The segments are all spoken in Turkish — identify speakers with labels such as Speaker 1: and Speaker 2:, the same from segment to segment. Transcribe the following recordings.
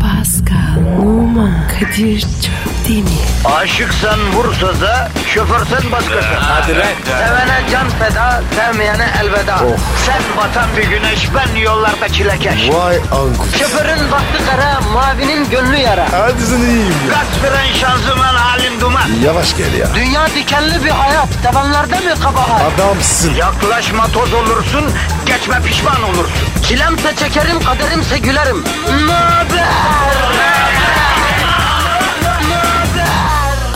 Speaker 1: Pascal, Oman, Kadir çok değil mi?
Speaker 2: Aşıksan vursa da şoförsen başkasın. Hadi
Speaker 3: lan. Oh.
Speaker 2: Sevene can feda, sevmeyene elveda. Sen batan bir güneş, ben yollarda çilekeş.
Speaker 3: Vay anku.
Speaker 2: Şoförün baktı kara, mavinin gönlü yara.
Speaker 3: Hadi sen iyiyim ya.
Speaker 2: Kasperen şanzıman halin duman.
Speaker 3: Yavaş gel ya.
Speaker 2: Dünya dikenli bir hayat, sevenlerde mi kabahar?
Speaker 3: Adamsın.
Speaker 2: Yaklaşma toz olursun, geçme pişman olursun. Çilemse çekerim, kaderimse gülerim. Möber!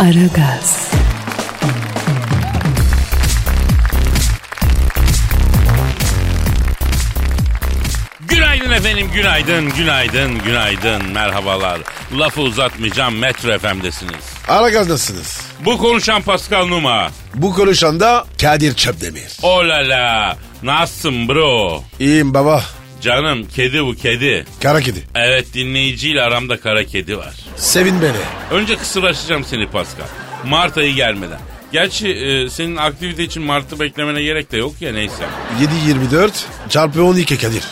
Speaker 1: Aragaz,
Speaker 4: Günaydın efendim, günaydın, günaydın, günaydın. Merhabalar. Lafı uzatmayacağım, Metro FM'desiniz.
Speaker 3: Aragaz nasılsınız?
Speaker 4: Bu konuşan Pascal Numa.
Speaker 3: Bu konuşan da Kadir Çöpdemir.
Speaker 4: Olala, nasılsın bro?
Speaker 3: İyiyim baba.
Speaker 4: Canım, kedi bu kedi.
Speaker 3: Kara kedi.
Speaker 4: Evet, dinleyiciyle aramda kara kedi var.
Speaker 3: Sevin beni.
Speaker 4: Önce kısırlaşacağım seni Pascal. Mart ayı gelmeden. Gerçi e, senin aktivite için Mart'ı beklemene gerek de yok ya neyse.
Speaker 3: 7-24 çarpı 12 Kadir.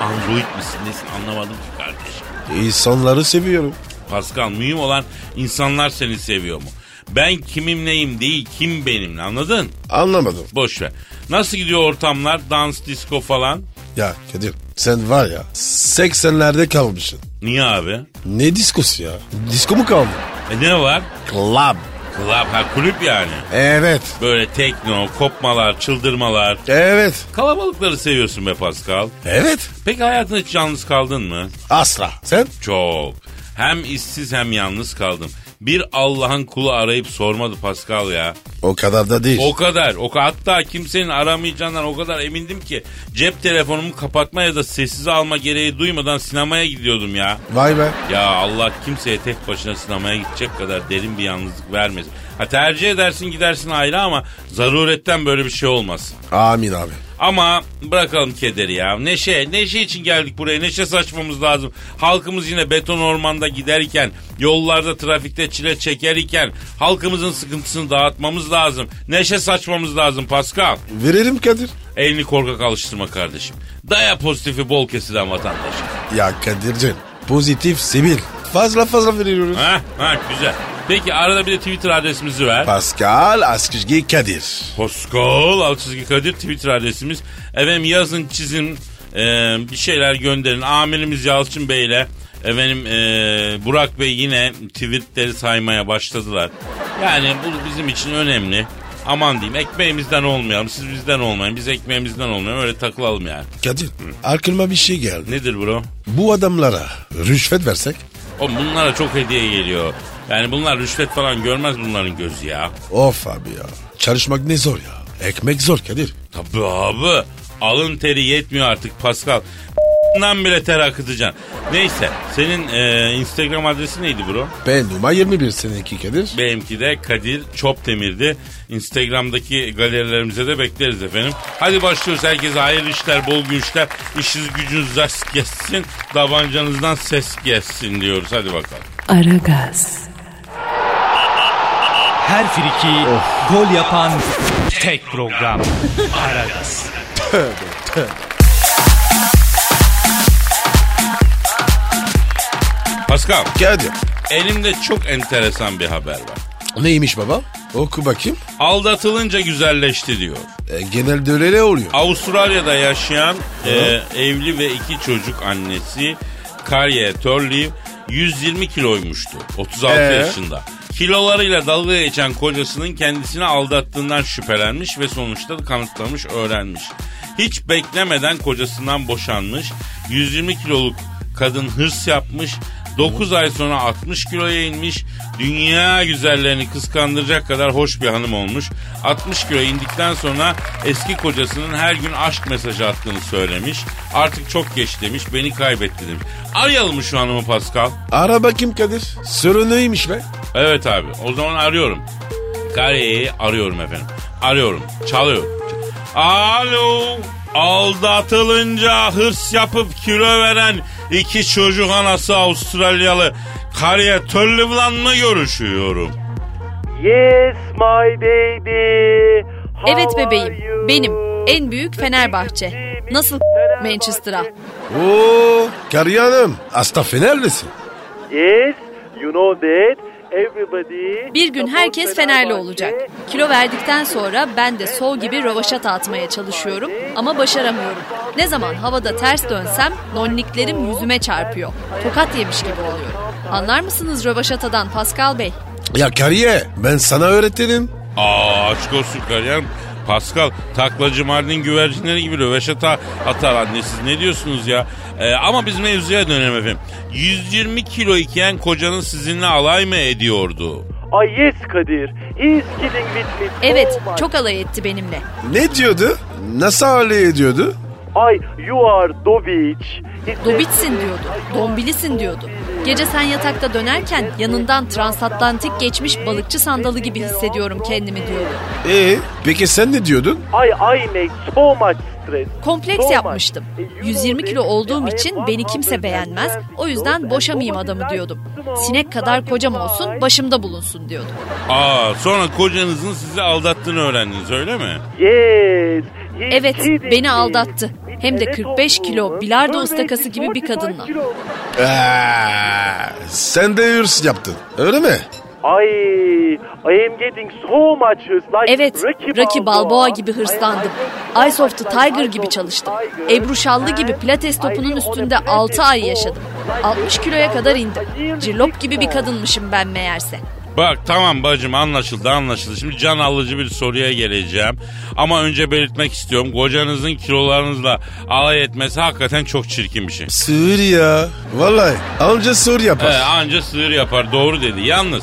Speaker 4: Android misin nesin anlamadım ki kardeşim.
Speaker 3: İnsanları seviyorum.
Speaker 4: Pascal mühim olan insanlar seni seviyor mu? Ben kimim neyim değil kim benimle anladın?
Speaker 3: Anlamadım.
Speaker 4: Boş ver. Nasıl gidiyor ortamlar? Dans, disco falan.
Speaker 3: Ya Kadir sen var ya 80'lerde kalmışsın.
Speaker 4: Niye abi?
Speaker 3: Ne diskosu ya? Disko mu kaldı?
Speaker 4: E ne var?
Speaker 3: Club.
Speaker 4: Club, ha kulüp yani.
Speaker 3: Evet.
Speaker 4: Böyle tekno, kopmalar, çıldırmalar.
Speaker 3: Evet.
Speaker 4: Kalabalıkları seviyorsun be Pascal.
Speaker 3: Evet.
Speaker 4: Peki hayatında hiç yalnız kaldın mı?
Speaker 3: Asla. Sen?
Speaker 4: Çok. Hem işsiz hem yalnız kaldım. Bir Allah'ın kulu arayıp sormadı Pascal ya.
Speaker 3: O kadar da değil.
Speaker 4: O kadar. O ka- hatta kimsenin aramayacağından o kadar emindim ki cep telefonumu kapatma ya da sessize alma gereği duymadan sinemaya gidiyordum ya.
Speaker 3: Vay be.
Speaker 4: Ya Allah kimseye tek başına sinemaya gidecek kadar derin bir yalnızlık vermesin. Ha tercih edersin gidersin ayrı ama zaruretten böyle bir şey olmasın.
Speaker 3: Amin abi.
Speaker 4: Ama bırakalım kederi ya. Neşe, neşe için geldik buraya. Neşe saçmamız lazım. Halkımız yine beton ormanda giderken, yollarda trafikte çile çekerken halkımızın sıkıntısını dağıtmamız lazım. Neşe saçmamız lazım Pascal.
Speaker 3: Verelim Kadir.
Speaker 4: Elini korkak alıştırma kardeşim. Daya pozitifi bol kesilen vatandaş.
Speaker 3: Ya Kadir'cim pozitif sivil. Fazla fazla veriyoruz.
Speaker 4: Ha, ha güzel. Peki arada bir de Twitter adresimizi ver.
Speaker 3: Pascal Askışgi Kadir.
Speaker 4: Pascal alt çizgi Kadir Twitter adresimiz. Efendim yazın çizin e, bir şeyler gönderin. Amirimiz Yalçın Bey'le efendim e, Burak Bey yine tweetleri saymaya başladılar. Yani bu bizim için önemli. Aman diyeyim ekmeğimizden olmayalım siz bizden olmayın biz ekmeğimizden olmayalım öyle takılalım yani.
Speaker 3: Kadir aklıma bir şey geldi.
Speaker 4: Nedir bro?
Speaker 3: Bu adamlara rüşvet versek
Speaker 4: O bunlara çok hediye geliyor. Yani bunlar rüşvet falan görmez bunların gözü ya.
Speaker 3: of abi ya çalışmak ne zor ya. Ekmek zor Kadir.
Speaker 4: Tabii abi. Alın teri yetmiyor artık Pascal. Lan bile ter akıtacaksın. Neyse senin e, Instagram adresi neydi bro?
Speaker 3: Ben Numa 21 seninki Kadir.
Speaker 4: Benimki de Kadir Çopdemir'di. Instagram'daki galerilerimize de bekleriz efendim. Hadi başlıyoruz. Herkese hayırlı işler, bol güçler. İşiniz gücünüz rast gelsin. Davancanızdan ses gelsin diyoruz. Hadi bakalım.
Speaker 1: Aragaz,
Speaker 5: Her friki gol yapan tek program. Aragaz.
Speaker 4: Pascal
Speaker 3: Kadir.
Speaker 4: elimde çok enteresan bir haber var.
Speaker 3: Neymiş baba? Oku bakayım.
Speaker 4: Aldatılınca güzelleşti diyor.
Speaker 3: E, genelde öyle oluyor.
Speaker 4: Avustralya'da yaşayan e, evli ve iki çocuk annesi Karye Turley 120 kiloymuştu 36
Speaker 3: Ee?
Speaker 4: yaşında. Kilolarıyla dalga geçen kocasının kendisini aldattığından şüphelenmiş ve sonuçta da kanıtlamış öğrenmiş. Hiç beklemeden kocasından boşanmış. 120 kiloluk kadın hırs yapmış. 9 ay sonra 60 kiloya inmiş. Dünya güzellerini kıskandıracak kadar hoş bir hanım olmuş. 60 kilo indikten sonra eski kocasının her gün aşk mesajı attığını söylemiş. Artık çok geç demiş. Beni kaybetti demiş. Arayalım mı şu hanımı Pascal?
Speaker 3: Ara bakayım Kadir. Sorun neymiş be?
Speaker 4: Evet abi. O zaman arıyorum. Kareyi arıyorum efendim. Arıyorum. Çalıyor. Alo. Aldatılınca hırs yapıp kilo veren iki çocuk anası Avustralyalı Kariye Törlüvlan mı görüşüyorum?
Speaker 6: Yes my baby. How
Speaker 7: Evet
Speaker 6: are
Speaker 7: bebeğim,
Speaker 6: you?
Speaker 7: benim en büyük Fenerbahçe. Nasıl Manchester'a?
Speaker 3: Oo Kariye Hanım. Hasta fenerlisin.
Speaker 6: Yes, you know that everybody...
Speaker 7: Bir gün herkes Fenerli olacak. Kilo verdikten sonra ben de sol gibi rövaşata atmaya çalışıyorum ama başaramıyorum. Ne zaman havada ters dönsem nonniklerim yüzüme çarpıyor. Tokat yemiş gibi oluyorum. Anlar mısınız rövaşatadan Pascal Bey?
Speaker 3: Ya kariye ben sana öğretirim.
Speaker 4: Aa aşk olsun kariyer. Pascal taklacı Mardin güvercinleri gibi röveşata atar annesiz. Ne diyorsunuz ya? Ee, ama biz mevzuya dönelim efendim. 120 kilo iken kocanın sizinle alay mı ediyordu?
Speaker 6: Ay yes Kadir. He's kidding with me. so
Speaker 7: Evet,
Speaker 6: much.
Speaker 7: çok alay etti benimle.
Speaker 3: Ne diyordu? Nasıl hale ediyordu?
Speaker 6: Ay you are dobiç.
Speaker 7: Dobitsin diyordu, dombilisin diyordu. Gece sen yatakta dönerken yanından transatlantik geçmiş balıkçı sandalı gibi hissediyorum kendimi diyordu.
Speaker 3: Ee, peki sen ne diyordun?
Speaker 6: Ay I make so much stress.
Speaker 7: Kompleks
Speaker 6: So much.
Speaker 7: yapmıştım. 120 kilo olduğum için beni kimse beğenmez. O yüzden boşamayayım adamı diyordum. Sinek kadar kocam olsun, başımda bulunsun diyordum.
Speaker 4: Aa sonra kocanızın sizi aldattığını öğrendiniz öyle mi?
Speaker 6: Yes. he's
Speaker 7: Evet,
Speaker 6: kidding
Speaker 7: beni
Speaker 6: me.
Speaker 7: aldattı. Hem de
Speaker 6: Evet,
Speaker 7: 45 kilo bilardo
Speaker 6: Öyleyse
Speaker 7: ıstakası gibi bir
Speaker 6: 45
Speaker 7: kadınla.
Speaker 6: kilo.
Speaker 3: Aa, Ee, sen de hırs yaptın öyle mi?
Speaker 6: Ay, I am getting so much hırs. Like
Speaker 7: Evet, Rocky Balboa gibi hırslandım. Eyes of the Tiger gibi çalıştım. Ebru Şallı gibi pilates topunun üstünde 6 ay yaşadım. 60 kiloya kadar indim. Cirlop gibi bir kadınmışım ben meğerse.
Speaker 4: Bak tamam bacım anlaşıldı anlaşıldı. Şimdi can alıcı bir soruya geleceğim. Ama önce belirtmek istiyorum. Kocanızın kilolarınızla alay etmesi hakikaten çok çirkin bir şey.
Speaker 3: Sığır ya. Vallahi anca sığır yapar.
Speaker 4: He, anca sığır yapar doğru dedi. Yalnız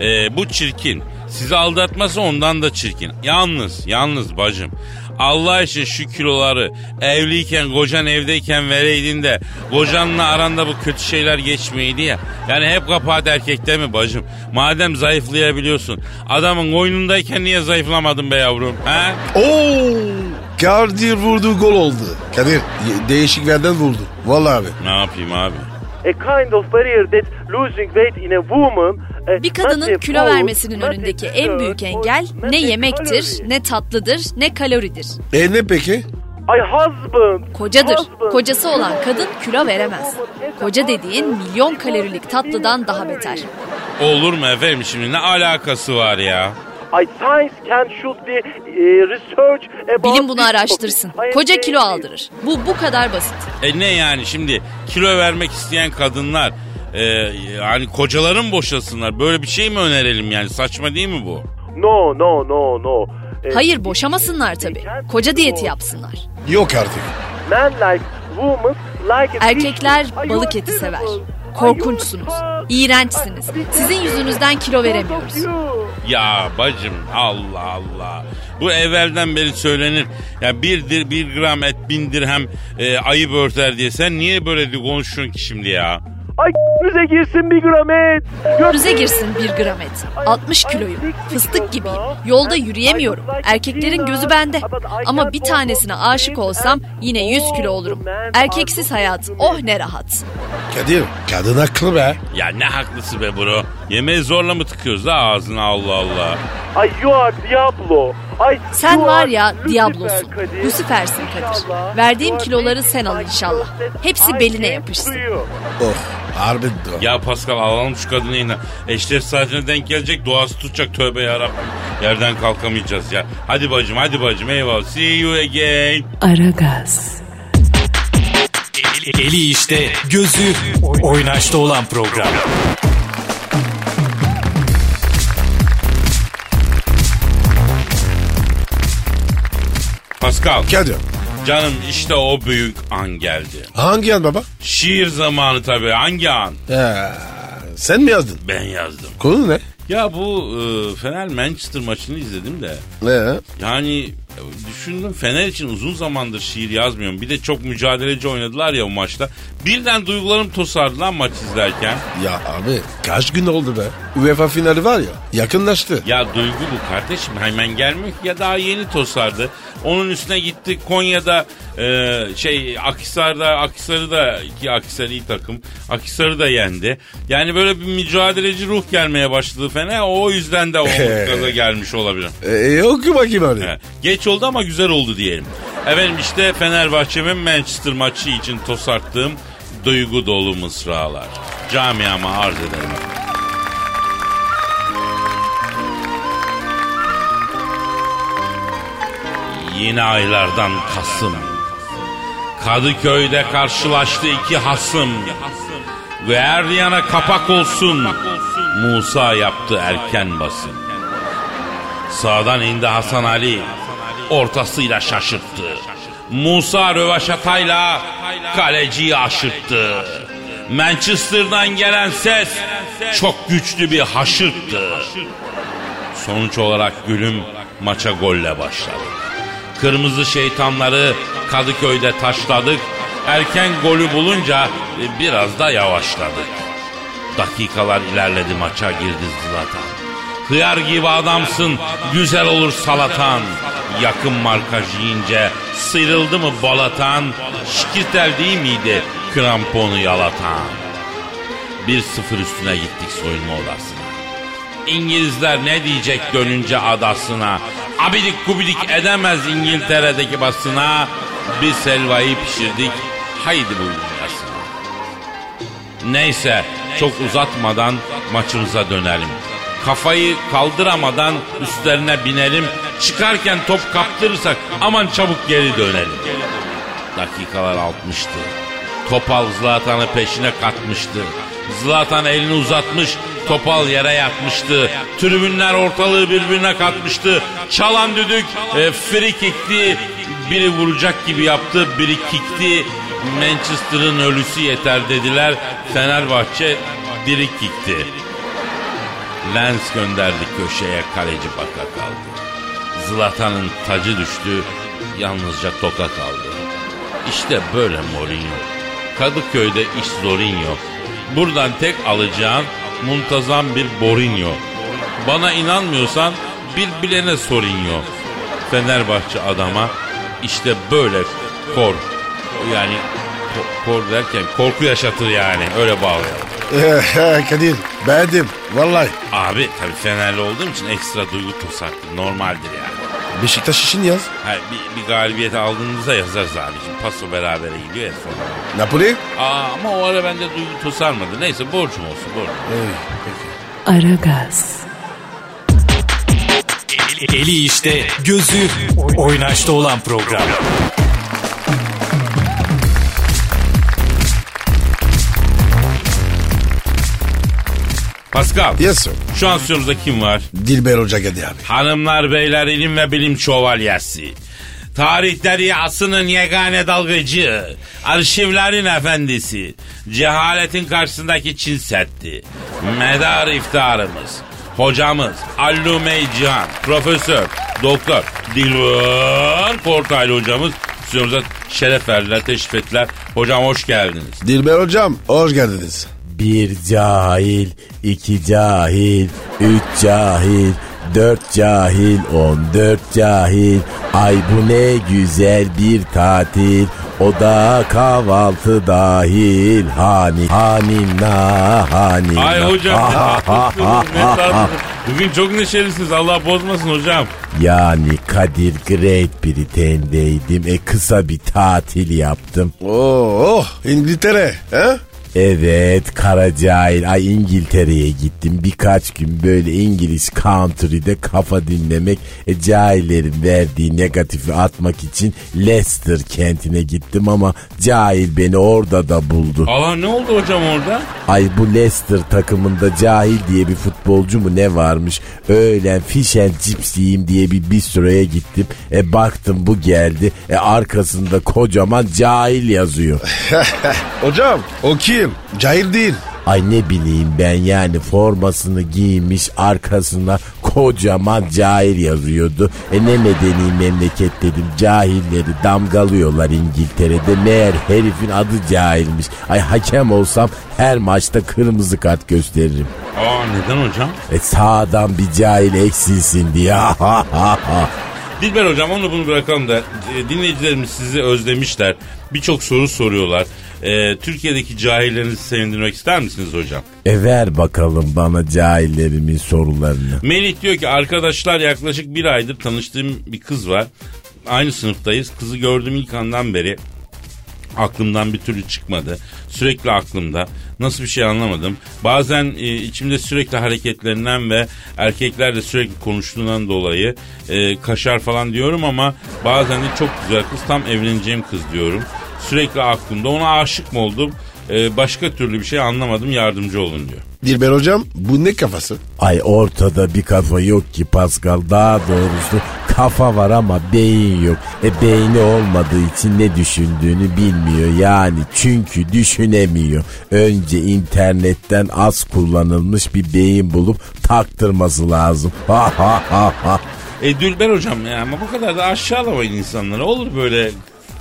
Speaker 4: e, bu çirkin. Sizi aldatması ondan da çirkin. Yalnız, yalnız bacım. Allah için şu kiloları evliyken, kocan evdeyken vereydin de kocanla aranda bu kötü şeyler geçmeydi ya. Yani hep kapahat erkekte mi bacım? Madem zayıflayabiliyorsun. Adamın koynundayken niye zayıflamadın be yavrum? He?
Speaker 3: Oo! Kadir vurdu gol oldu. Kadir ye- değişik yerden vurdu. Vallahi abi.
Speaker 4: Ne yapayım abi?
Speaker 6: A kind of barrier that losing weight in a woman eh,
Speaker 7: Bir
Speaker 6: not a
Speaker 7: kadının kilo
Speaker 6: food,
Speaker 7: vermesinin
Speaker 6: not a
Speaker 7: önündeki
Speaker 6: dessert,
Speaker 7: en büyük engel
Speaker 6: not
Speaker 7: ne
Speaker 6: a
Speaker 7: yemektir,
Speaker 6: calorie.
Speaker 7: ne tatlıdır, ne kaloridir.
Speaker 3: E ne peki?
Speaker 6: Ay husband.
Speaker 7: Kocadır.
Speaker 6: husband.
Speaker 7: Kocası olan kadın kilo veremez. Koca dediğin milyon kalorilik tatlıdan daha beter.
Speaker 4: Olur mu efendim şimdi ne alakası var ya?
Speaker 6: Ay science can should be eh, research about
Speaker 7: Bilim bunu
Speaker 6: this
Speaker 7: araştırsın.
Speaker 6: topic. I am
Speaker 7: Koca
Speaker 6: saying
Speaker 7: kilo
Speaker 6: this.
Speaker 7: aldırır. Bu bu kadar basit.
Speaker 4: E ne yani şimdi kilo vermek isteyen kadınlar e, hani kocaları mı boşasınlar? Böyle bir şey mi önerelim yani? Saçma değil mi bu?
Speaker 6: No no no no. Eh,
Speaker 7: Hayır boşamasınlar tabii. Koca diyeti yapsınlar.
Speaker 3: Yok artık.
Speaker 6: Man like woman like a
Speaker 7: Erkekler
Speaker 6: fish. Ay, you
Speaker 7: balık
Speaker 6: are
Speaker 7: eti sever.
Speaker 6: terrible. Ay, you
Speaker 7: Korkunçsunuz.
Speaker 6: are terrible.
Speaker 7: iğrençsiniz. Sizin yüzünüzden kilo veremiyoruz.
Speaker 4: Ya bacım Allah Allah. Bu evvelden beri söylenir. Ya bir, dir, bir gram et bin dirhem e, ayıp örter diye. Sen niye böyle de konuşuyorsun ki şimdi ya?
Speaker 6: Ay k***nize girsin bir gram et.
Speaker 7: Önünüze girsin bir gram et. 60 kiloyum. Fıstık gibiyim. Yolda yürüyemiyorum. Erkeklerin gözü bende. Ama bir tanesine aşık olsam yine 100 kilo olurum. Erkeksiz hayat oh ne rahat.
Speaker 3: Kadir kadın haklı be.
Speaker 4: Ya ne haklısı be bro. Yemeği zorla mı tıkıyoruz da ağzına Allah Allah.
Speaker 6: Ay you are Diablo. Ay,
Speaker 7: Sen
Speaker 6: you
Speaker 7: var
Speaker 6: are
Speaker 7: ya
Speaker 6: Lucifer,
Speaker 7: Diablo'sun.
Speaker 6: Kadir.
Speaker 7: Lucifer'sin Kadir.
Speaker 6: İnşallah. You
Speaker 7: Verdiğim
Speaker 6: are
Speaker 7: kiloları
Speaker 6: taking
Speaker 7: sen al
Speaker 6: my
Speaker 7: inşallah.
Speaker 6: clothes that
Speaker 7: Hepsi
Speaker 6: I
Speaker 7: beline
Speaker 6: gave
Speaker 7: yapışsın.
Speaker 6: to you.
Speaker 3: Oh harbi doğru.
Speaker 4: Ya Pascal alalım şu kadını yine. Eşref saatine denk gelecek doğası tutacak tövbe yarabbim. Yerden kalkamayacağız ya. Hadi bacım hadi bacım eyvallah. See you again.
Speaker 1: Aragaz,
Speaker 5: Eli, eli işte, gözü oynaşta olan program.
Speaker 4: Pascal.
Speaker 3: Kadir
Speaker 4: Canım işte o büyük an geldi.
Speaker 3: hangi yan baba?
Speaker 4: Şiir zamanı tabii hangi an?
Speaker 3: Ee, sen mi yazdın?
Speaker 4: Ben yazdım.
Speaker 3: Konu ne?
Speaker 4: Ya bu e, Fener Manchester maçını izledim de.
Speaker 3: Ee,
Speaker 4: Yani e, düşündüm Fener için uzun zamandır şiir yazmıyorum. Bir de çok mücadeleci oynadılar ya o maçta. Birden duygularım tosardı lan maç izlerken.
Speaker 3: ya abi kaç gün oldu be? UEFA finali var ya yakınlaştı.
Speaker 4: Ya duygu bu kardeşim hemen gelmiyor ki ya daha yeni tosardı. Onun üstüne gitti Konya'da e, şey Akhisar'da Akhisar'ı da ki Akhisar iyi takım Akhisar'ı da yendi. Yani böyle bir mücadeleci ruh gelmeye başladı Fener o yüzden de o gaza gelmiş olabilir.
Speaker 3: Ee, oku bakayım hadi.
Speaker 4: He. Geç oldu ama güzel oldu diyelim. Efendim işte Fenerbahçe ve Manchester maçı için tosarttığım duygu dolu mısralar. Camiama arz ederim. Yine aylardan Kasım. Kadıköy'de karşılaştı iki hasım. Ve Erdiyan'a kapak olsun. Musa yaptı erken basın. Sağdan indi Hasan Ali. Ortasıyla şaşırttı. Musa rövaşatayla kaleciyi aşırttı. Manchester'dan gelen ses çok güçlü bir haşırttı. Sonuç olarak gülüm maça golle başladı. Kırmızı şeytanları Kadıköy'de taşladık. Erken golü bulunca e, biraz da yavaşladık. Dakikalar ilerledi maça girdi Zlatan. Hıyar gibi adamsın güzel olur salatan. Yakın markaj yiyince sıyrıldı mı balatan. Şikirtel değil miydi kramponu yalatan. 1-0 üstüne gittik soyunma odasına. İngilizler ne diyecek dönünce adasına? Abidik gubidik edemez İngiltere'deki basına. Bir selvayı pişirdik. Haydi bu dünyasına. Neyse çok uzatmadan maçımıza dönelim. Kafayı kaldıramadan üstlerine binelim. Çıkarken top kaptırırsak aman çabuk geri dönelim. Dakikalar altmıştı. Topal Zlatan'ı peşine katmıştı. Zlatan elini uzatmış, Topal yere yatmıştı. Tribünler ortalığı birbirine katmıştı. Çalan düdük, e, free kickti. Biri vuracak gibi yaptı, biri kikti. Manchester'ın ölüsü yeter dediler. Fenerbahçe diri kikti. Lens gönderdik köşeye, kaleci baka kaldı. Zlatan'ın tacı düştü, yalnızca toka kaldı. İşte böyle Mourinho. Kadıköy'de iş Zorinho. Buradan tek alacağım muntazam bir Borinho. Bana inanmıyorsan bir bilene Sorinho. Fenerbahçe adama işte böyle kor. Yani ko- kor derken korku yaşatır yani öyle bağlayalım.
Speaker 3: Ee, Kadir beğendim vallahi.
Speaker 4: Abi tabii Fenerli olduğum için ekstra duygu tosaklı normaldir yani.
Speaker 3: Beşiktaş için yaz.
Speaker 4: Ha, bir, bir galibiyet aldığınızda yazarız abicim. Paso berabere gidiyor ya sonra.
Speaker 3: Napoli.
Speaker 4: Aa, ama o ara bende duygu tosarmadı. Neyse borcum olsun borcum.
Speaker 1: Aragaz,
Speaker 5: Eli işte, gözü oynaşta olan program.
Speaker 4: Pascal.
Speaker 3: Yes sir.
Speaker 4: Şu an stüdyomuzda kim var?
Speaker 3: Dilber Hoca Kadir abi.
Speaker 4: Hanımlar, beyler, ilim ve bilim şövalyesi. Tarihleri asının yegane dalgıcı. Arşivlerin efendisi. Cehaletin karşısındaki Çin Seddi. Medar iftarımız. Hocamız Allume Cihan. Profesör, doktor Dilber Kortaylı hocamız. Stüdyomuza şeref verdiler, teşrif ettiler. Hocam hoş geldiniz.
Speaker 3: Dilber Hocam hoş geldiniz.
Speaker 8: Bir cahil, iki cahil, üç cahil, dört cahil, on dört cahil. Ay bu ne güzel bir tatil. Oda kahvaltı dahil. Hani hanim na hani. hanim.
Speaker 4: Ay
Speaker 8: na.
Speaker 4: hocam ne
Speaker 8: Ah, ah, ah,
Speaker 4: tatlısınız, ne
Speaker 8: ah, ah.
Speaker 4: tatlısınız. Bugün çok neşelisiniz. Allah bozmasın hocam.
Speaker 8: Yani Kadir Great Britain'deydim. E kısa bir tatil yaptım.
Speaker 3: Oo, oh, İngiltere. He?
Speaker 8: Evet Karacahil ay İngiltere'ye gittim birkaç gün böyle İngiliz country'de kafa dinlemek e, cahillerin verdiği negatifi atmak için Leicester kentine gittim ama cahil beni orada da buldu.
Speaker 4: Allah ne oldu hocam orada?
Speaker 8: Ay bu Leicester takımında cahil diye bir futbolcu mu ne varmış? Öğlen fish and chips yiyeyim diye bir bistroya gittim. E baktım bu geldi. E arkasında kocaman cahil yazıyor.
Speaker 3: Hocam o kim? Cahil değil.
Speaker 8: Ay ne bileyim ben yani formasını giymiş arkasına kocaman cahil yazıyordu. E ne medeni memleket dedim cahilleri damgalıyorlar İngiltere'de meğer herifin adı cahilmiş. Ay hakem olsam her maçta kırmızı kart gösteririm.
Speaker 4: Aa neden hocam?
Speaker 8: E sağdan bir cahil eksilsin diye.
Speaker 4: Dilber hocam onu bunu bırakalım da e, dinleyicilerimiz sizi özlemişler. Birçok soru soruyorlar. E, Türkiye'deki cahillerinizi sevindirmek ister misiniz hocam?
Speaker 8: e ver bakalım bana cahillerimin sorularını.
Speaker 4: Melih diyor ki arkadaşlar yaklaşık bir aydır tanıştığım bir kız var. Aynı sınıftayız. Kızı gördüğüm ilk andan beri aklımdan bir türlü çıkmadı. Sürekli aklımda. Nasıl bir şey anlamadım. Bazen e, içimde sürekli hareketlerinden ve erkeklerle sürekli konuştuğundan dolayı e, kaşar falan diyorum ama bazen de çok güzel kız tam evleneceğim kız diyorum. Sürekli aklımda ona aşık mı oldum? E, başka türlü bir şey anlamadım yardımcı olun diyor.
Speaker 3: Dilber hocam bu ne kafası?
Speaker 8: Ay ortada bir kafa yok ki Pascal. Daha doğrusu kafa var ama beyin yok. E beyni olmadığı için ne düşündüğünü bilmiyor. Yani çünkü düşünemiyor. Önce internetten az kullanılmış bir beyin bulup taktırması lazım. Ha ha ha ha.
Speaker 4: E Dülber hocam ya ama bu kadar da aşağılamayın insanları. Olur böyle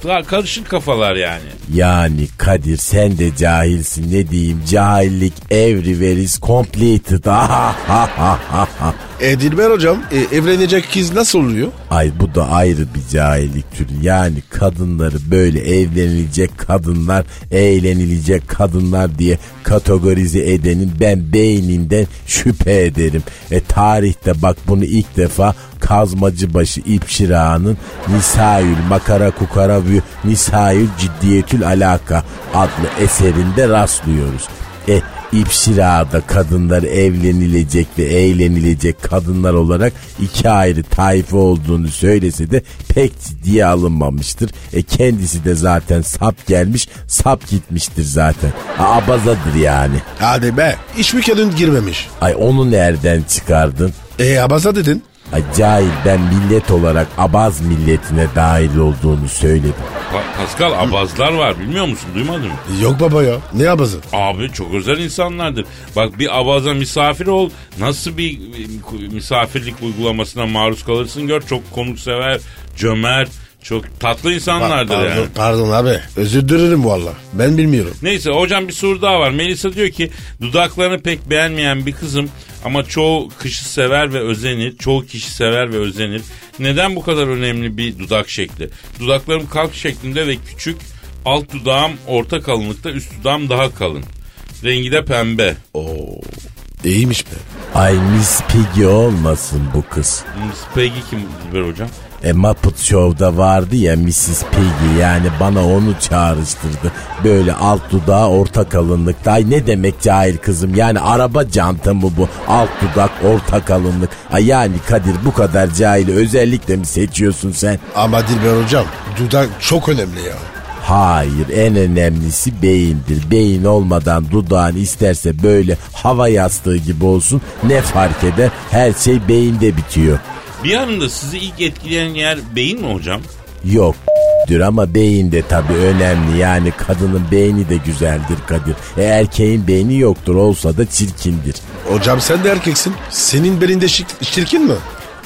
Speaker 4: ka- karışık kafalar yani.
Speaker 8: Yani Kadir sen de cahilsin ne diyeyim cahillik everywhere is completed. Ha ha ha ha ha.
Speaker 3: E Dilber hocam e, evlenecek kız nasıl oluyor?
Speaker 8: Ay bu da ayrı bir cahillik türü. Yani kadınları böyle evlenilecek kadınlar, eğlenilecek kadınlar diye kategorize edenin ben beyninden şüphe ederim. E tarihte bak bunu ilk defa Kazmacıbaşı İpşira'nın Nisayül Makara Kukara ve Nisayül Ciddiyetül Alaka adlı eserinde rastlıyoruz. E İpşira'da kadınlar evlenilecek ve eğlenilecek kadınlar olarak iki ayrı tayfa olduğunu söylese de pek ciddiye alınmamıştır. E kendisi de zaten sap gelmiş, sap gitmiştir zaten. A- Abazadır yani.
Speaker 3: Hadi be hiçbir kadın girmemiş.
Speaker 8: Ay onu nereden çıkardın?
Speaker 3: E abaza dedin.
Speaker 8: Acayip ben millet olarak abaz milletine dahil olduğunu söyledim.
Speaker 4: Pa- Pascal abazlar var bilmiyor musun duymadın mı?
Speaker 3: Yok baba ya ne abazı?
Speaker 4: Abi çok özel insanlardır. Bak bir abaza misafir ol. Nasıl bir e, misafirlik uygulamasına maruz kalırsın gör. Çok konuksever, cömert, çok tatlı insanlardır
Speaker 3: pardon,
Speaker 4: yani.
Speaker 3: pardon abi özür dilerim valla ben bilmiyorum.
Speaker 4: Neyse hocam bir soru daha var. Melisa diyor ki dudaklarını pek beğenmeyen bir kızım ama çoğu kişi sever ve özenir. Çoğu kişi sever ve özenir. Neden bu kadar önemli bir dudak şekli? Dudaklarım kalk şeklinde ve küçük. Alt dudağım orta kalınlıkta, üst dudağım daha kalın. Rengi de pembe.
Speaker 3: İyiymiş be.
Speaker 8: Ay Miss Piggy olmasın bu kız.
Speaker 4: Miss Peggy kim Dilber hocam?
Speaker 8: E Muppet Show'da vardı ya Mrs. Piggy yani bana onu çağrıştırdı. Böyle alt dudağı orta kalınlıkta. Ay ne demek cahil kızım yani araba canta mı bu? Alt dudak orta kalınlık. Ay yani Kadir bu kadar cahili özellikle mi seçiyorsun sen?
Speaker 3: Ama Dilber hocam dudak çok önemli ya.
Speaker 8: Hayır en önemlisi beyindir. Beyin olmadan dudağın isterse böyle hava yastığı gibi olsun ne fark eder her şey beyinde bitiyor.
Speaker 4: Bir anda sizi ilk etkileyen yer beyin mi hocam?
Speaker 8: Yok dür ama beyin de tabii önemli. Yani kadının beyni de güzeldir Kadir. E erkeğin beyni yoktur olsa da çirkindir.
Speaker 3: Hocam sen de erkeksin. Senin belinde şir- şirkin mi?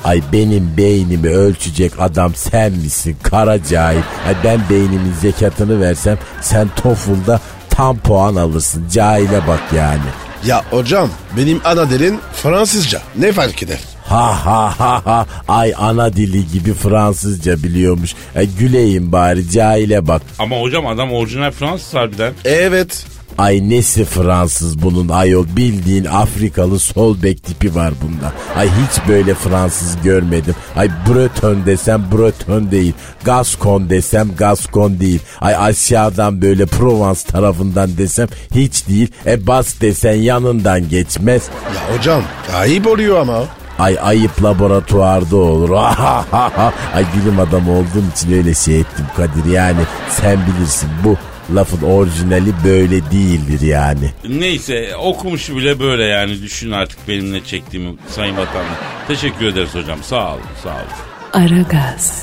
Speaker 8: Ay benim beynimi ölçecek adam sen misin kara cahil. Ay ben beynimin zekatını versem sen TOEFL'da tam puan alırsın. Cahile bak yani.
Speaker 3: Ya hocam benim ana dilin Fransızca. Ne fark eder?
Speaker 8: Ha ha ha ha ay ana dili gibi Fransızca biliyormuş. E, güleyim bari cahile bak.
Speaker 4: Ama hocam adam orijinal Fransız harbiden.
Speaker 3: Evet.
Speaker 8: Ay nesi Fransız bunun ayol bildiğin Afrikalı sol bek tipi var bunda. Ay hiç böyle Fransız görmedim. Ay Breton desem Breton değil. Gascon desem Gascon değil. Ay aşağıdan böyle Provence tarafından desem hiç değil. E Bas desen yanından geçmez.
Speaker 3: Ya hocam ayıp oluyor ama.
Speaker 8: Ay ayıp laboratuvarda olur. Ay bilim adamı olduğum için öyle şey ettim Kadir. Yani sen bilirsin bu lafın orijinali böyle değildir yani.
Speaker 4: Neyse okumuşu bile böyle yani düşün artık benimle çektiğimi sayın vatandaş. Teşekkür ederiz hocam sağ olun sağ olun.
Speaker 1: Aragaz,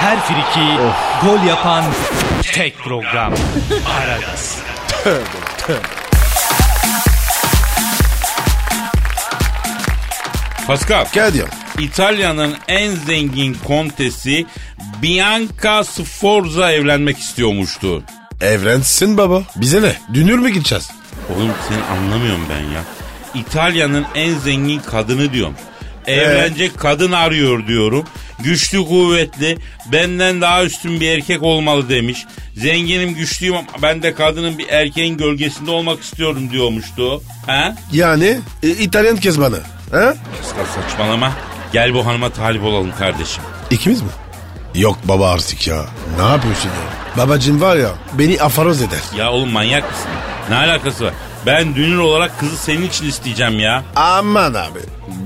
Speaker 5: Her friki gol yapan tek program. Aragaz.
Speaker 4: Pascal
Speaker 3: Gel diyorum.
Speaker 4: İtalya'nın en zengin kontesi Bianca Sforza evlenmek istiyormuştu.
Speaker 3: Evlensin baba. Bize ne? Dünür mü gideceğiz?
Speaker 4: Oğlum seni anlamıyorum ben ya. İtalya'nın en zengin kadını diyorum. Evlenecek kadın arıyor diyorum. Güçlü kuvvetli benden daha üstün bir erkek olmalı demiş. Zenginim güçlüyüm ama ben de kadının bir erkeğin gölgesinde olmak istiyorum diyormuştu. He?
Speaker 3: Yani e, İtalyan kız bana. Ha?
Speaker 4: Pascal saçmalama. Gel bu hanıma talip olalım kardeşim.
Speaker 3: İkimiz mi? Yok baba artık ya. Ne yapıyorsun ya? Babacım var ya beni afaroz eder.
Speaker 4: Ya oğlum manyak mısın? Ne alakası var? Ben dünür olarak kızı senin için isteyeceğim ya.
Speaker 3: Aman abi.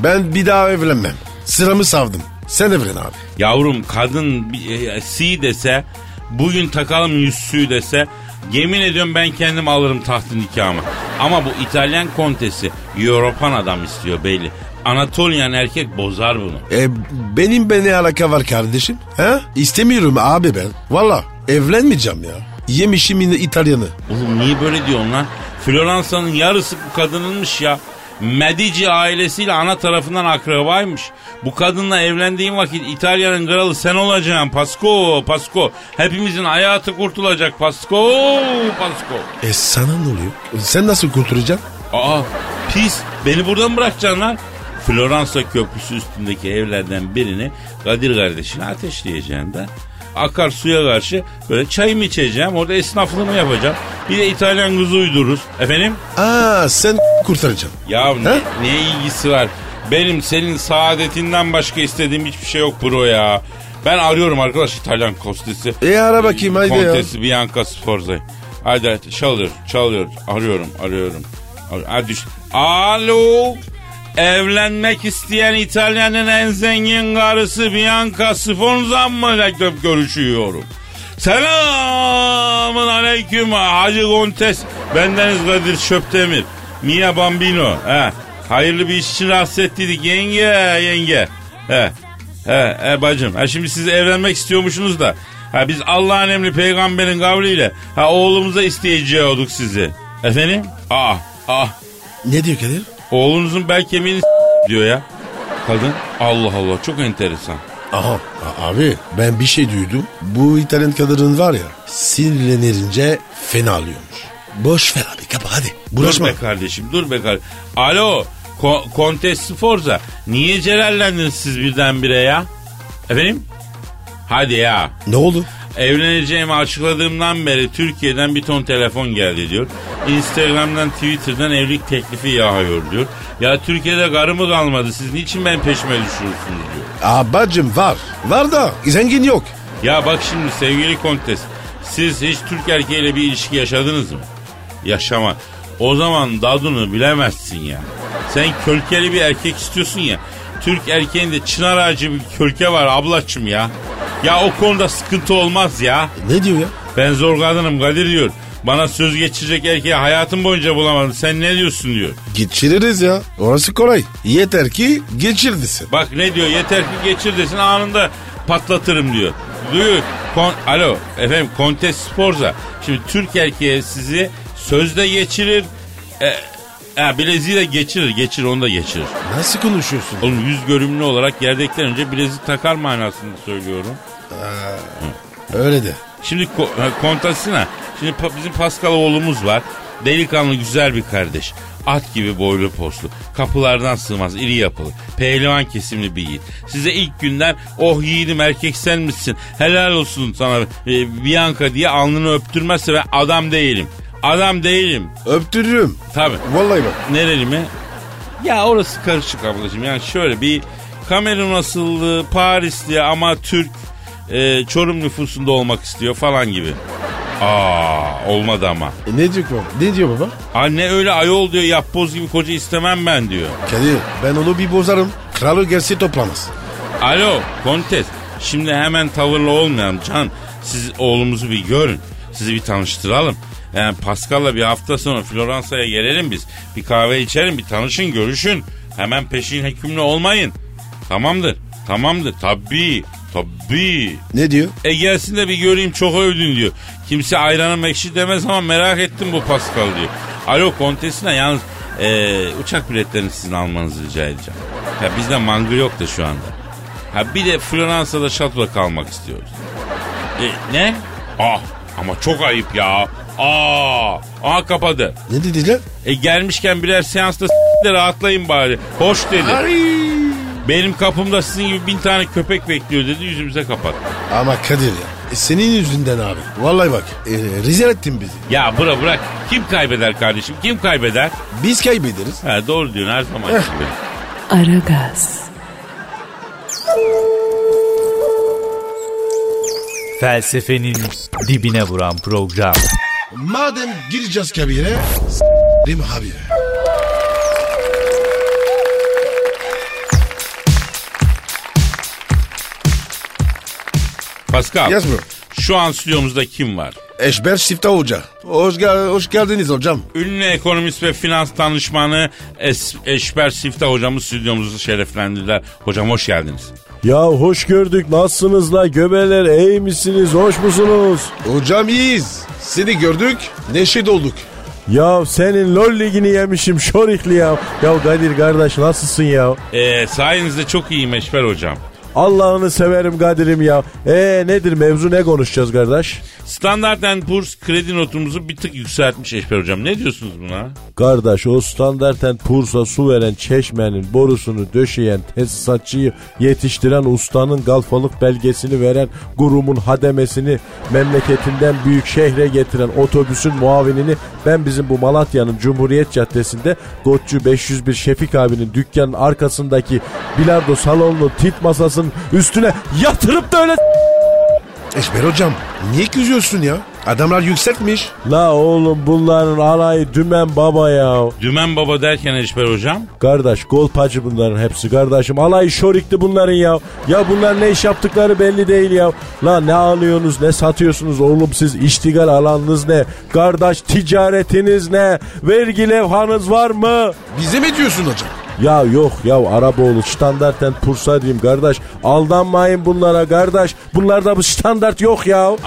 Speaker 3: Ben bir daha evlenmem. Sıramı savdım. Sen evlen abi.
Speaker 4: Yavrum kadın bir- e, si dese bugün takalım yüzsüğü dese yemin ediyorum ben kendim alırım tahtın nikahımı. Ama bu İtalyan kontesi Europan adam istiyor belli. Anatolian erkek bozar bunu.
Speaker 3: E, benim beni alaka var kardeşim. He? İstemiyorum abi ben. Valla evlenmeyeceğim ya. Yemişim yine İtalyanı.
Speaker 4: Oğlum niye böyle diyorsun lan? Floransa'nın yarısı bu kadınınmış ya. Medici ailesiyle ana tarafından akrabaymış. Bu kadınla evlendiğin vakit İtalya'nın kralı sen olacaksın Pasko, Pasko. Hepimizin hayatı kurtulacak Pasko, Pasko.
Speaker 3: E sana ne oluyor? E, Sen nasıl kurtulacaksın?
Speaker 4: Aa pis beni buradan bırakacaksın lan. Floransa köprüsü üstündeki evlerden birini Kadir kardeşine ateşleyeceğim de. Akar suya karşı böyle çayımı içeceğim. Orada esnaflığımı yapacağım. Bir de İtalyan kızı uydururuz. Efendim?
Speaker 3: Aa sen kurtaracaksın.
Speaker 4: Ya ne,
Speaker 3: Ha?
Speaker 4: ne ilgisi var? Benim senin saadetinden başka istediğim hiçbir şey yok bro ya. Ben arıyorum arkadaş İtalyan kostesi.
Speaker 3: E, ara bakayım, haydi ya.
Speaker 4: Kontesi Bianca Sforza'yı. Hadi hadi çalıyor çalıyor arıyorum arıyorum. Ar- Hadi düş- Alo. Evlenmek isteyen İtalya'nın en zengin karısı Bianca Sforza mı görüşüyorum? Selamın aleyküm Hacı Kontes. Bendeniz Kadir Çöptemir. Mia Bambino. He. Hayırlı bir iş için rahatsız ettiydik yenge yenge. He. He, he bacım. Ha, şimdi siz evlenmek istiyormuşsunuz da. Ha, biz Allah'ın emri peygamberin kavliyle ha, oğlumuza isteyeceğiyorduk sizi. Efendim? Ah ah.
Speaker 3: Ne diyor Kadir?
Speaker 4: Oğlunuzun bel kemiğini diyor ya. Kadın. Allah Allah çok enteresan.
Speaker 3: Aha a- abi ben bir şey duydum. Bu İtalyan kadının var ya sinirlenince fena alıyormuş. Boş ver abi kapa hadi. Bulaşma.
Speaker 4: Dur be kardeşim dur be kardeşim. Alo Ko- Kontes Sforza niye celallendiniz siz birdenbire ya? Efendim? Hadi ya.
Speaker 3: Ne oldu?
Speaker 4: Evleneceğimi açıkladığımdan beri Türkiye'den bir ton telefon geldi diyor. Instagram'dan Twitter'dan evlilik teklifi yağıyor diyor. Ya Türkiye'de karımı kalmadı siz niçin ben peşime düşürürsünüz diyor.
Speaker 3: Abacım var. Var da zengin yok.
Speaker 4: Ya bak şimdi sevgili kontes. Siz hiç Türk erkeğiyle bir ilişki yaşadınız mı? Yaşama. O zaman dadını bilemezsin ya. Sen kölkeli bir erkek istiyorsun ya. Türk erkeğinde çınar ağacı bir kölke var ablacım ya. Ya o konuda sıkıntı olmaz ya.
Speaker 3: Ne diyor ya?
Speaker 4: Ben zor kadınım Kadir diyor. Bana söz geçirecek erkeği hayatım boyunca bulamadım. Sen ne diyorsun diyor.
Speaker 3: Geçiririz ya. Orası kolay. Yeter ki geçirdisin.
Speaker 4: Bak ne diyor yeter ki geçir desin anında patlatırım diyor. Diyor kon, alo efendim Kontes Sporza. Şimdi Türk erkeği sizi sözde geçirir. E, e, bileziği de geçirir geçirir onu da geçirir.
Speaker 3: Nasıl konuşuyorsun?
Speaker 4: Oğlum yüz görümlü olarak yerdekten önce bilezik takar manasını söylüyorum.
Speaker 3: Öyle de.
Speaker 4: Şimdi ko- ha, Kontasina. Şimdi pa- bizim Pascal oğlumuz var. Delikanlı güzel bir kardeş. At gibi boylu poslu. Kapılardan sığmaz iri yapılı. Pehlivan kesimli bir yiğit. Size ilk günden oh yiğidim erkek sen misin? Helal olsun sana e, Bianca diye alnını öptürmezse ben adam değilim. Adam değilim.
Speaker 3: Öptürürüm.
Speaker 4: Tabii.
Speaker 3: Vallahi bak.
Speaker 4: Nereli mi? Ya orası karışık ablacığım. Yani şöyle bir Kamerun asıllı Parisli ama Türk e, Çorum nüfusunda olmak istiyor falan gibi. Aa olmadı ama.
Speaker 3: E ne diyor ki baba? Ne diyor baba?
Speaker 4: Anne öyle ayol diyor yapboz gibi koca istemem ben diyor.
Speaker 3: Kadir ben onu bir bozarım. Kralı gelse toplamaz.
Speaker 4: Alo kontes şimdi hemen tavırlı olmayalım Can. Siz oğlumuzu bir görün. Sizi bir tanıştıralım. Yani Pascal'la bir hafta sonra Floransa'ya gelelim biz. Bir kahve içelim bir tanışın görüşün. Hemen peşin hükümlü olmayın. Tamamdır. Tamamdır. Tabii. Tabii.
Speaker 3: Ne diyor?
Speaker 4: E gelsin de bir göreyim çok övdün diyor. Kimse ayranım ekşi demez ama merak ettim bu Pascal diyor. Alo kontesine yalnız e, uçak biletlerini sizin almanızı rica edeceğim. Ya bizde mangır yok da şu anda. Ha bir de Floransa'da şatoda kalmak istiyoruz. E, ne? Ah ama çok ayıp ya. Aa, aha kapadı.
Speaker 3: Ne dedi lan?
Speaker 4: E gelmişken birer seansta s- de rahatlayın bari. Hoş dedi. Benim kapımda sizin gibi bin tane köpek bekliyor dedi yüzümüze kapattı.
Speaker 3: Ama Kadir ya. e senin yüzünden abi. Vallahi bak. E, rezil ettin bizi.
Speaker 4: Ya bırak bırak. Kim kaybeder kardeşim? Kim kaybeder?
Speaker 3: Biz kaybederiz.
Speaker 4: Ha, doğru diyorsun her zaman
Speaker 3: Eh.
Speaker 4: gibi.
Speaker 1: Aragaz.
Speaker 5: Felsefenin dibine vuran program.
Speaker 3: Madem gireceğiz kabire s**rim habire.
Speaker 4: Pascal.
Speaker 3: Yes bro.
Speaker 4: Şu an stüdyomuzda kim var?
Speaker 3: Eşber Siftah Hoca. Hoş, gel- hoş geldiniz hocam.
Speaker 4: Ünlü ekonomist ve finans danışmanı Es- Eşber Siftah hocamız stüdyomuzu şereflendirdiler. Hocam hoş geldiniz.
Speaker 8: Ya hoş gördük nasılsınız la göbeler iyi misiniz hoş musunuz?
Speaker 3: Hocam iyiyiz. Seni gördük, neşe dolduk.
Speaker 8: Ya senin lol ligini yemişim şorikli ya. Ya Kadir kardeş nasılsın ya?
Speaker 4: Ee, sayenizde çok iyiyim Eşber hocam.
Speaker 8: Allah'ını severim Kadir'im ya. Ee nedir mevzu ne konuşacağız kardeş?
Speaker 4: Standart Poor's kredi notumuzu bir tık yükseltmiş Eşber hocam. Ne diyorsunuz buna?
Speaker 8: Kardeş o standarten Pursa su veren çeşmenin borusunu döşeyen tesisatçıyı yetiştiren ustanın galfalık belgesini veren gurumun hademesini memleketinden büyük şehre getiren otobüsün muavinini ben bizim bu Malatya'nın Cumhuriyet Caddesi'nde Gotçu 501 Şefik abinin dükkanın arkasındaki bilardo salonlu tit masasının üstüne yatırıp da öyle
Speaker 3: Eşber hocam, niye kızıyorsun ya? Adamlar yükseltmiş.
Speaker 8: La oğlum bunların alayı dümen baba ya.
Speaker 4: Dümen baba derken Eşber hocam.
Speaker 8: Kardeş golpacı bunların hepsi kardeşim. Alay şorikti bunların ya. Ya bunlar ne iş yaptıkları belli değil ya. La ne alıyorsunuz ne satıyorsunuz oğlum siz iştigal alanınız ne? Kardeş ticaretiniz ne? Vergi levhanız var mı?
Speaker 3: Bize mi diyorsun hocam?
Speaker 8: Ya yok ya Araboğlu standartten pursa diyeyim kardeş. Aldanmayın bunlara kardeş. Bunlarda bu standart yok ya.
Speaker 4: Anladım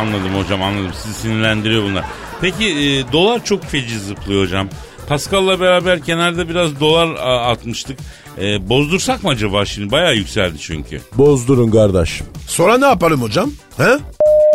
Speaker 4: anladım hocam anladım. Sizi sinirlendiriyor bunlar. Peki e, dolar çok feci zıplıyor hocam. Pascal'la beraber kenarda biraz dolar a, atmıştık. E, bozdursak mı acaba şimdi? Bayağı yükseldi çünkü.
Speaker 8: Bozdurun kardeş.
Speaker 3: Sonra ne yapalım hocam? He?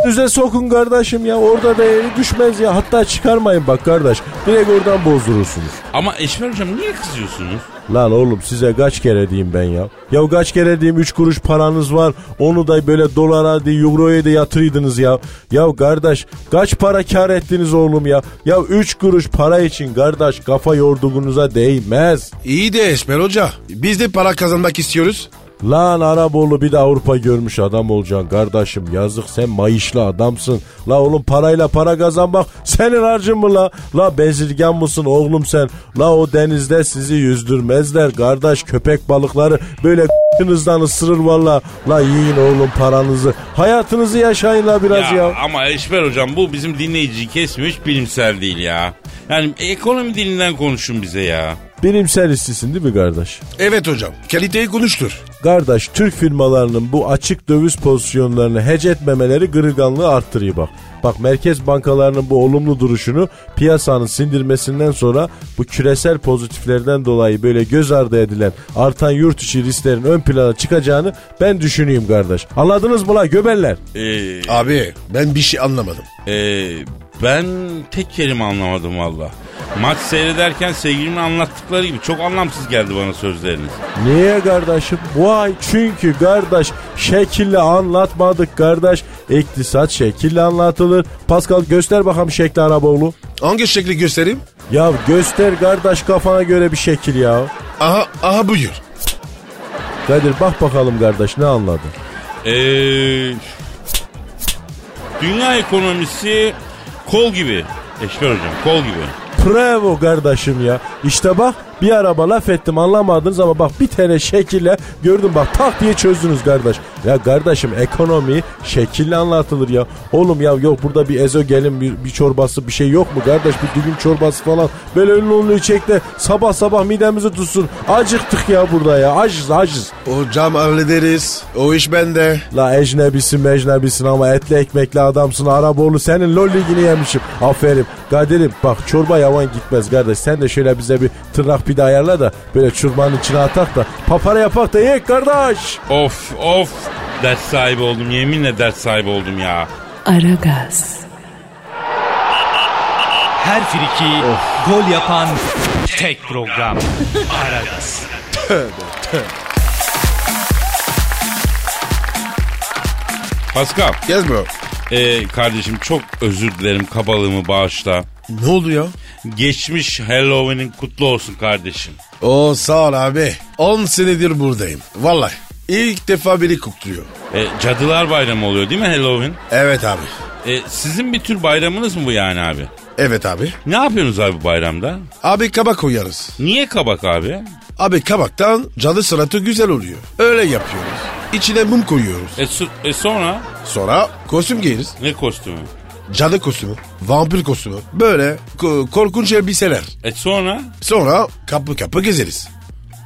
Speaker 8: Düze sokun kardeşim ya orada değeri düşmez ya hatta çıkarmayın bak kardeş direkt oradan bozdurursunuz.
Speaker 4: Ama Eşber hocam niye kızıyorsunuz?
Speaker 8: Lan oğlum size kaç kere diyeyim ben ya. Ya kaç kere diyeyim 3 kuruş paranız var. Onu da böyle dolara de euroya da yatırıydınız ya. Ya kardeş kaç para kar ettiniz oğlum ya. Ya 3 kuruş para için kardeş kafa yorduğunuza değmez.
Speaker 3: İyi de Eşber Hoca, biz de para kazanmak istiyoruz.
Speaker 8: Lan Araboğlu bir de Avrupa görmüş adam olacaksın kardeşim. Yazık sen mayışlı adamsın. La oğlum parayla para kazanmak senin harcın mı la? La bezirgen mısın oğlum sen? La o denizde sizi yüzdürmezler kardeş. Köpek balıkları böyle k***nızdan ısırır valla. La yiyin oğlum paranızı. Hayatınızı yaşayın la biraz ya.
Speaker 4: Ama Eşber hocam bu bizim dinleyiciyi kesmiş bilimsel değil ya. Yani ekonomi dilinden konuşun bize ya.
Speaker 8: Bilimsel işçisin değil mi kardeş?
Speaker 3: Evet hocam, kaliteyi konuştur.
Speaker 8: Kardeş Türk firmalarının bu açık döviz pozisyonlarını hece etmemeleri kırılganlığı arttırıyor bak. Bak merkez bankalarının bu olumlu duruşunu piyasanın sindirmesinden sonra bu küresel pozitiflerden dolayı böyle göz ardı edilen artan yurt içi risklerin ön plana çıkacağını ben düşünüyorum kardeş. Anladınız mı la göberler?
Speaker 4: Ee,
Speaker 3: Abi, ben bir şey anlamadım.
Speaker 4: Ee, ben tek kelime anlamadım valla. Maç seyrederken sevgilimin anlattıkları gibi çok anlamsız geldi bana sözleriniz.
Speaker 8: Niye kardeşim? Vay çünkü kardeş şekille anlatmadık kardeş. İktisat şekille anlatılır. Pascal göster bakalım şekli Araboğlu.
Speaker 3: Hangi şekli göstereyim?
Speaker 8: Ya göster kardeş kafana göre bir şekil ya.
Speaker 3: Aha, aha buyur.
Speaker 8: Kadir bak bakalım kardeş ne anladın?
Speaker 4: Ee, dünya ekonomisi kol gibi. Eşber hocam kol gibi.
Speaker 8: Bravo kardeşim ya. İşte bak bir araba laf ettim anlamadınız ama bak bir tane şekille gördüm bak tak diye çözdünüz kardeş. Ya kardeşim ekonomi şekille anlatılır ya. Oğlum ya yok burada bir ezogelin bir, bir çorbası bir şey yok mu kardeş bir düğün çorbası falan. Böyle ünlü ünlü içek de sabah sabah midemizi tutsun. Acıktık ya burada ya acız acız.
Speaker 3: Hocam hallederiz. O iş bende.
Speaker 8: La ecnebisin mecnebisin ama etli ekmekli adamsın Araboğlu senin lol ligini yemişim. Aferin Kadir'im bak çorba yavan gitmez kardeş sen de şöyle bize bir tırnak pide ayarla da böyle çorbanın içine atak da papara yapak da yek kardeş.
Speaker 4: Of of ders sahibi oldum yeminle ders sahibi oldum ya.
Speaker 1: Aragaz,
Speaker 5: Her friki gol yapan tek program. Aragaz.
Speaker 4: Pascal
Speaker 3: Yes bro.
Speaker 4: ee, kardeşim çok özür dilerim kabalığımı bağışla.
Speaker 3: Ne oldu ya?
Speaker 4: Geçmiş Halloween'in kutlu olsun kardeşim.
Speaker 3: O sağ ol abi. 10 senedir buradayım. Vallahi. İlk defa biri kutluyor.
Speaker 4: E, cadılar bayramı oluyor değil mi Halloween?
Speaker 3: Evet abi.
Speaker 4: E, sizin bir tür bayramınız mı bu yani abi?
Speaker 3: Evet abi.
Speaker 4: Ne yapıyorsunuz abi bayramda?
Speaker 3: Abi kabak koyarız.
Speaker 4: Niye kabak abi?
Speaker 3: Abi kabaktan cadı sıratı güzel oluyor. Öyle yapıyoruz. İçine mum koyuyoruz.
Speaker 4: E, su- e sonra
Speaker 3: Sonra kostüm giyeriz.
Speaker 4: ne kostümü?
Speaker 3: Cadı kostümü, vampir kostümü. Böyle ko- korkunç elbiseler.
Speaker 4: E sonra?
Speaker 3: Sonra kapı kapı gezeriz.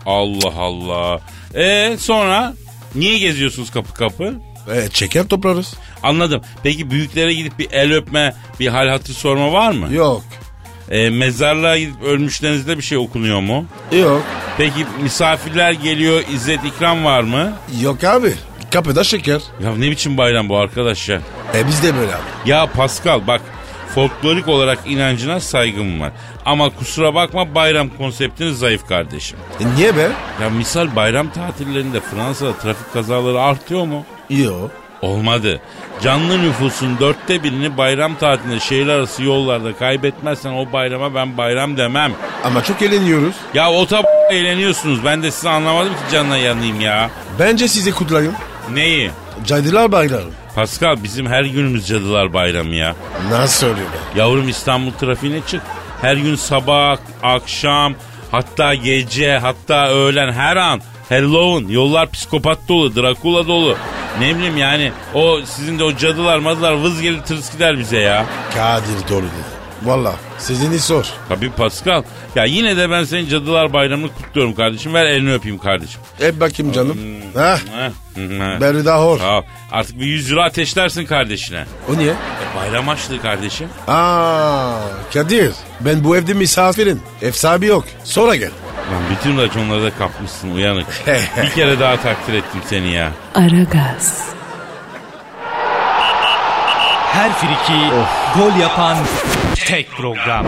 Speaker 4: Allah Allah. E sonra? Niye geziyorsunuz kapı kapı?
Speaker 3: E, çeker toplarız.
Speaker 4: Anladım. Peki büyüklere gidip bir el öpme, bir hal hatır sorma var mı?
Speaker 3: Yok.
Speaker 4: E, mezarlığa gidip ölmüşlerinizde bir şey okunuyor mu?
Speaker 3: Yok.
Speaker 4: Peki misafirler geliyor, izzet ikram var mı?
Speaker 3: Yok abi. Kapıda şeker.
Speaker 4: Ya ne biçim bayram bu arkadaş ya?
Speaker 3: E biz de böyle abi.
Speaker 4: Ya Pascal bak folklorik olarak inancına saygım var. Ama kusura bakma bayram konseptiniz zayıf kardeşim.
Speaker 3: E, niye be?
Speaker 4: Ya misal bayram tatillerinde Fransa'da trafik kazaları artıyor mu?
Speaker 3: Yok.
Speaker 4: Olmadı. Canlı nüfusun dörtte birini bayram tatilinde şehir arası yollarda kaybetmezsen o bayrama ben bayram demem.
Speaker 3: Ama çok eğleniyoruz.
Speaker 4: Ya o tab eğleniyorsunuz. Ben de sizi anlamadım ki canına yanayım ya.
Speaker 3: Bence sizi kutlayın.
Speaker 4: Neyi?
Speaker 3: Cadılar bayramı.
Speaker 4: Pascal bizim her günümüz cadılar bayramı ya.
Speaker 3: Nasıl oluyor be?
Speaker 4: Yavrum İstanbul trafiğine çık. Her gün sabah, akşam, hatta gece, hatta öğlen her an. Halloween, yollar psikopat dolu, Drakula dolu. Ne bileyim yani o sizin de o cadılar madılar vız gelir tırs gider bize ya.
Speaker 3: Kadir dolu dedi. Valla sizini sor.
Speaker 4: Tabii Pascal. Ya yine de ben senin cadılar bayramını kutluyorum kardeşim. Ver elini öpeyim kardeşim.
Speaker 3: Hep E, bakayım canım. Heh.
Speaker 4: Heh. Heh.
Speaker 3: Beri daha hor.
Speaker 4: Sağ ol. Artık bir 100 lira ateşlersin kardeşine.
Speaker 3: O niye?
Speaker 4: E, bayram açlığı kardeşim.
Speaker 3: Aa, Kadir ben bu evde misafirim. Ev sahibi yok. Sonra gel.
Speaker 4: Lan bütün raconları da kapmışsın uyanık. bir kere daha takdir ettim seni ya.
Speaker 1: Aragaz,
Speaker 5: Her friki gol yapan tek program.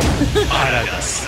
Speaker 5: Aragaz.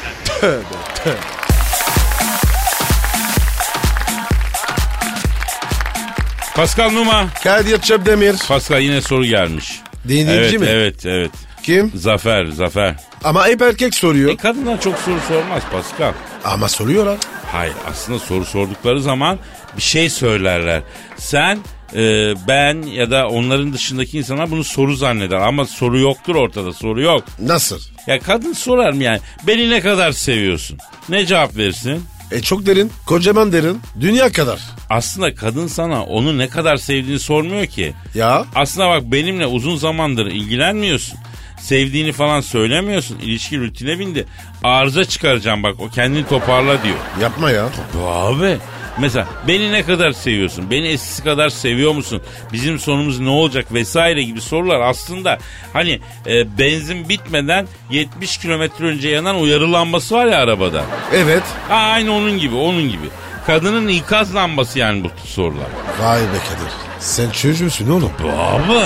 Speaker 4: Pascal Numa.
Speaker 3: Kadir Çöpdemir.
Speaker 4: Pascal yine soru gelmiş.
Speaker 3: Dinleyici
Speaker 4: evet,
Speaker 3: mi?
Speaker 4: Evet evet.
Speaker 3: Kim?
Speaker 4: Zafer, Zafer.
Speaker 3: Ama hep erkek soruyor.
Speaker 4: E kadınlar çok soru sormaz Pascal.
Speaker 3: Ama soruyorlar.
Speaker 4: Hayır aslında soru sordukları zaman bir şey söylerler. Sen, e, ben ya da onların dışındaki insanlar bunu soru zanneder. Ama soru yoktur ortada soru yok.
Speaker 3: Nasıl?
Speaker 4: Ya kadın sorar mı yani? Beni ne kadar seviyorsun? Ne cevap verirsin?
Speaker 3: E çok derin, kocaman derin. Dünya kadar.
Speaker 4: Aslında kadın sana onu ne kadar sevdiğini sormuyor ki.
Speaker 3: Ya
Speaker 4: Aslında bak benimle uzun zamandır ilgilenmiyorsun. Sevdiğini falan söylemiyorsun. İlişki rutine bindi. Arıza çıkaracağım bak o kendini toparla diyor.
Speaker 3: yapma ya.
Speaker 4: Ya Abi mesela beni ne kadar seviyorsun? Beni eskisi kadar seviyor musun? Bizim sonumuz ne olacak vesaire gibi sorular aslında hani e, benzin bitmeden 70 kilometre önce yanan uyarı lambası var ya arabada.
Speaker 3: Evet.
Speaker 4: Ha, aynı onun gibi onun gibi. Kadının ikaz lambası yani bu sorular.
Speaker 3: Vay be Kadir. Sen çocuğusun oğlum.
Speaker 4: Abi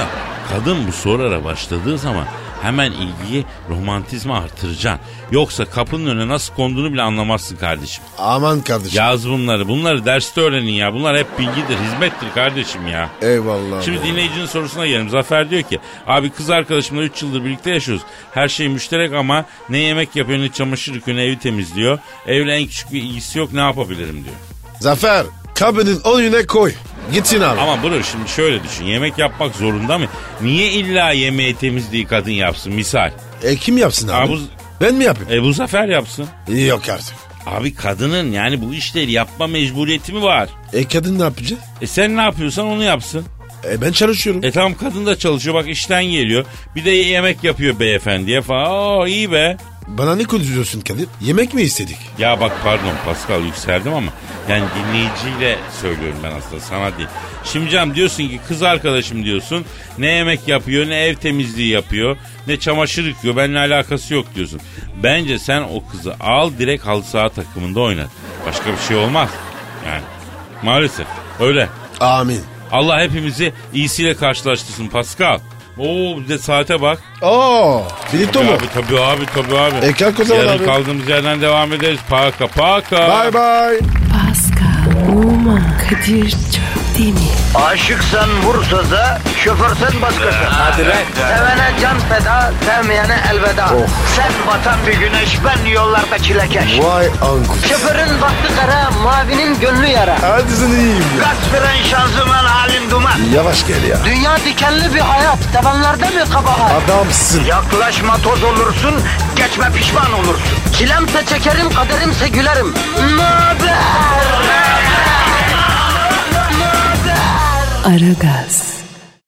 Speaker 4: kadın bu sorulara başladığı zaman hemen ilgiyi romantizmi artıracaksın. Yoksa kapının önüne nasıl konduğunu bile anlamazsın kardeşim.
Speaker 3: Aman kardeşim.
Speaker 4: Yaz bunları. Bunları derste öğrenin ya. Bunlar hep bilgidir, hizmettir kardeşim ya.
Speaker 3: Eyvallah.
Speaker 4: Şimdi dinleyicinin sorusuna gelelim. Zafer diyor ki abi kız arkadaşımla 3 yıldır birlikte yaşıyoruz. Her şey müşterek ama ne yemek yapıyor ne çamaşır yıkıyor ne evi temizliyor. Evle en küçük bir ilgisi yok ne yapabilirim diyor.
Speaker 3: Zafer kabının on yöne koy. Gitsin abi.
Speaker 4: Ama bro şimdi şöyle düşün yemek yapmak zorunda mı? Niye illa yemeği temizliği kadın yapsın misal?
Speaker 3: E kim yapsın abi?
Speaker 4: Abi-
Speaker 3: Ben mi yapayım?
Speaker 4: E bu Zafer yapsın.
Speaker 3: Yok artık.
Speaker 4: Abi kadının yani bu işleri yapma mecburiyeti mi var?
Speaker 3: E kadın ne yapacak?
Speaker 4: E sen ne yapıyorsan onu yapsın.
Speaker 3: E ben çalışıyorum.
Speaker 4: E tamam kadın da çalışıyor bak işten geliyor. Bir de yemek yapıyor beyefendiye falan. Aa iyi be.
Speaker 3: Bana ne konuşuyorsun Kadir? Yemek mi istedik?
Speaker 4: Ya bak pardon Pascal yükseldim ama yani dinleyiciyle söylüyorum ben aslında sana değil. Şimdi canım diyorsun ki kız arkadaşım diyorsun ne yemek yapıyor ne ev temizliği yapıyor ne çamaşır yıkıyor benimle alakası yok diyorsun. Bence sen o kızı al direkt halı saha takımında oynat. Başka bir şey olmaz yani maalesef öyle.
Speaker 3: Amin.
Speaker 4: Allah hepimizi iyisiyle karşılaştırsın Pascal. Oo bir de saate bak.
Speaker 3: Oo, Filipto
Speaker 4: Tabii
Speaker 3: mu?
Speaker 4: abi tabii abi tabii abi.
Speaker 3: E, kalk o zaman
Speaker 4: Yarın
Speaker 3: abi.
Speaker 4: kaldığımız yerden devam ederiz. Paka paka.
Speaker 3: Bye bye.
Speaker 1: Pascal, Oman, Kadir çok değil mi?
Speaker 2: Aşıksan vursa da, şoförsen başkasın. Hadi
Speaker 5: lan.
Speaker 2: Sevene can feda, sevmeyene elveda. Sen batan bir güneş, ben yollarda çilekeş.
Speaker 3: Vay anku.
Speaker 2: Şoförün baktı kara, mavinin gönlü yara.
Speaker 3: Hadi sen iyiyim ya.
Speaker 2: Kasperen şanzıman halin duman.
Speaker 3: Yavaş gel ya.
Speaker 2: Dünya dikenli bir hayat, sevenlerde mi kabahar?
Speaker 3: Adamsın.
Speaker 2: Yaklaşma toz olursun, geçme pişman olursun. Çilemse çekerim, kaderimse gülerim. Möber!
Speaker 1: Aragaz.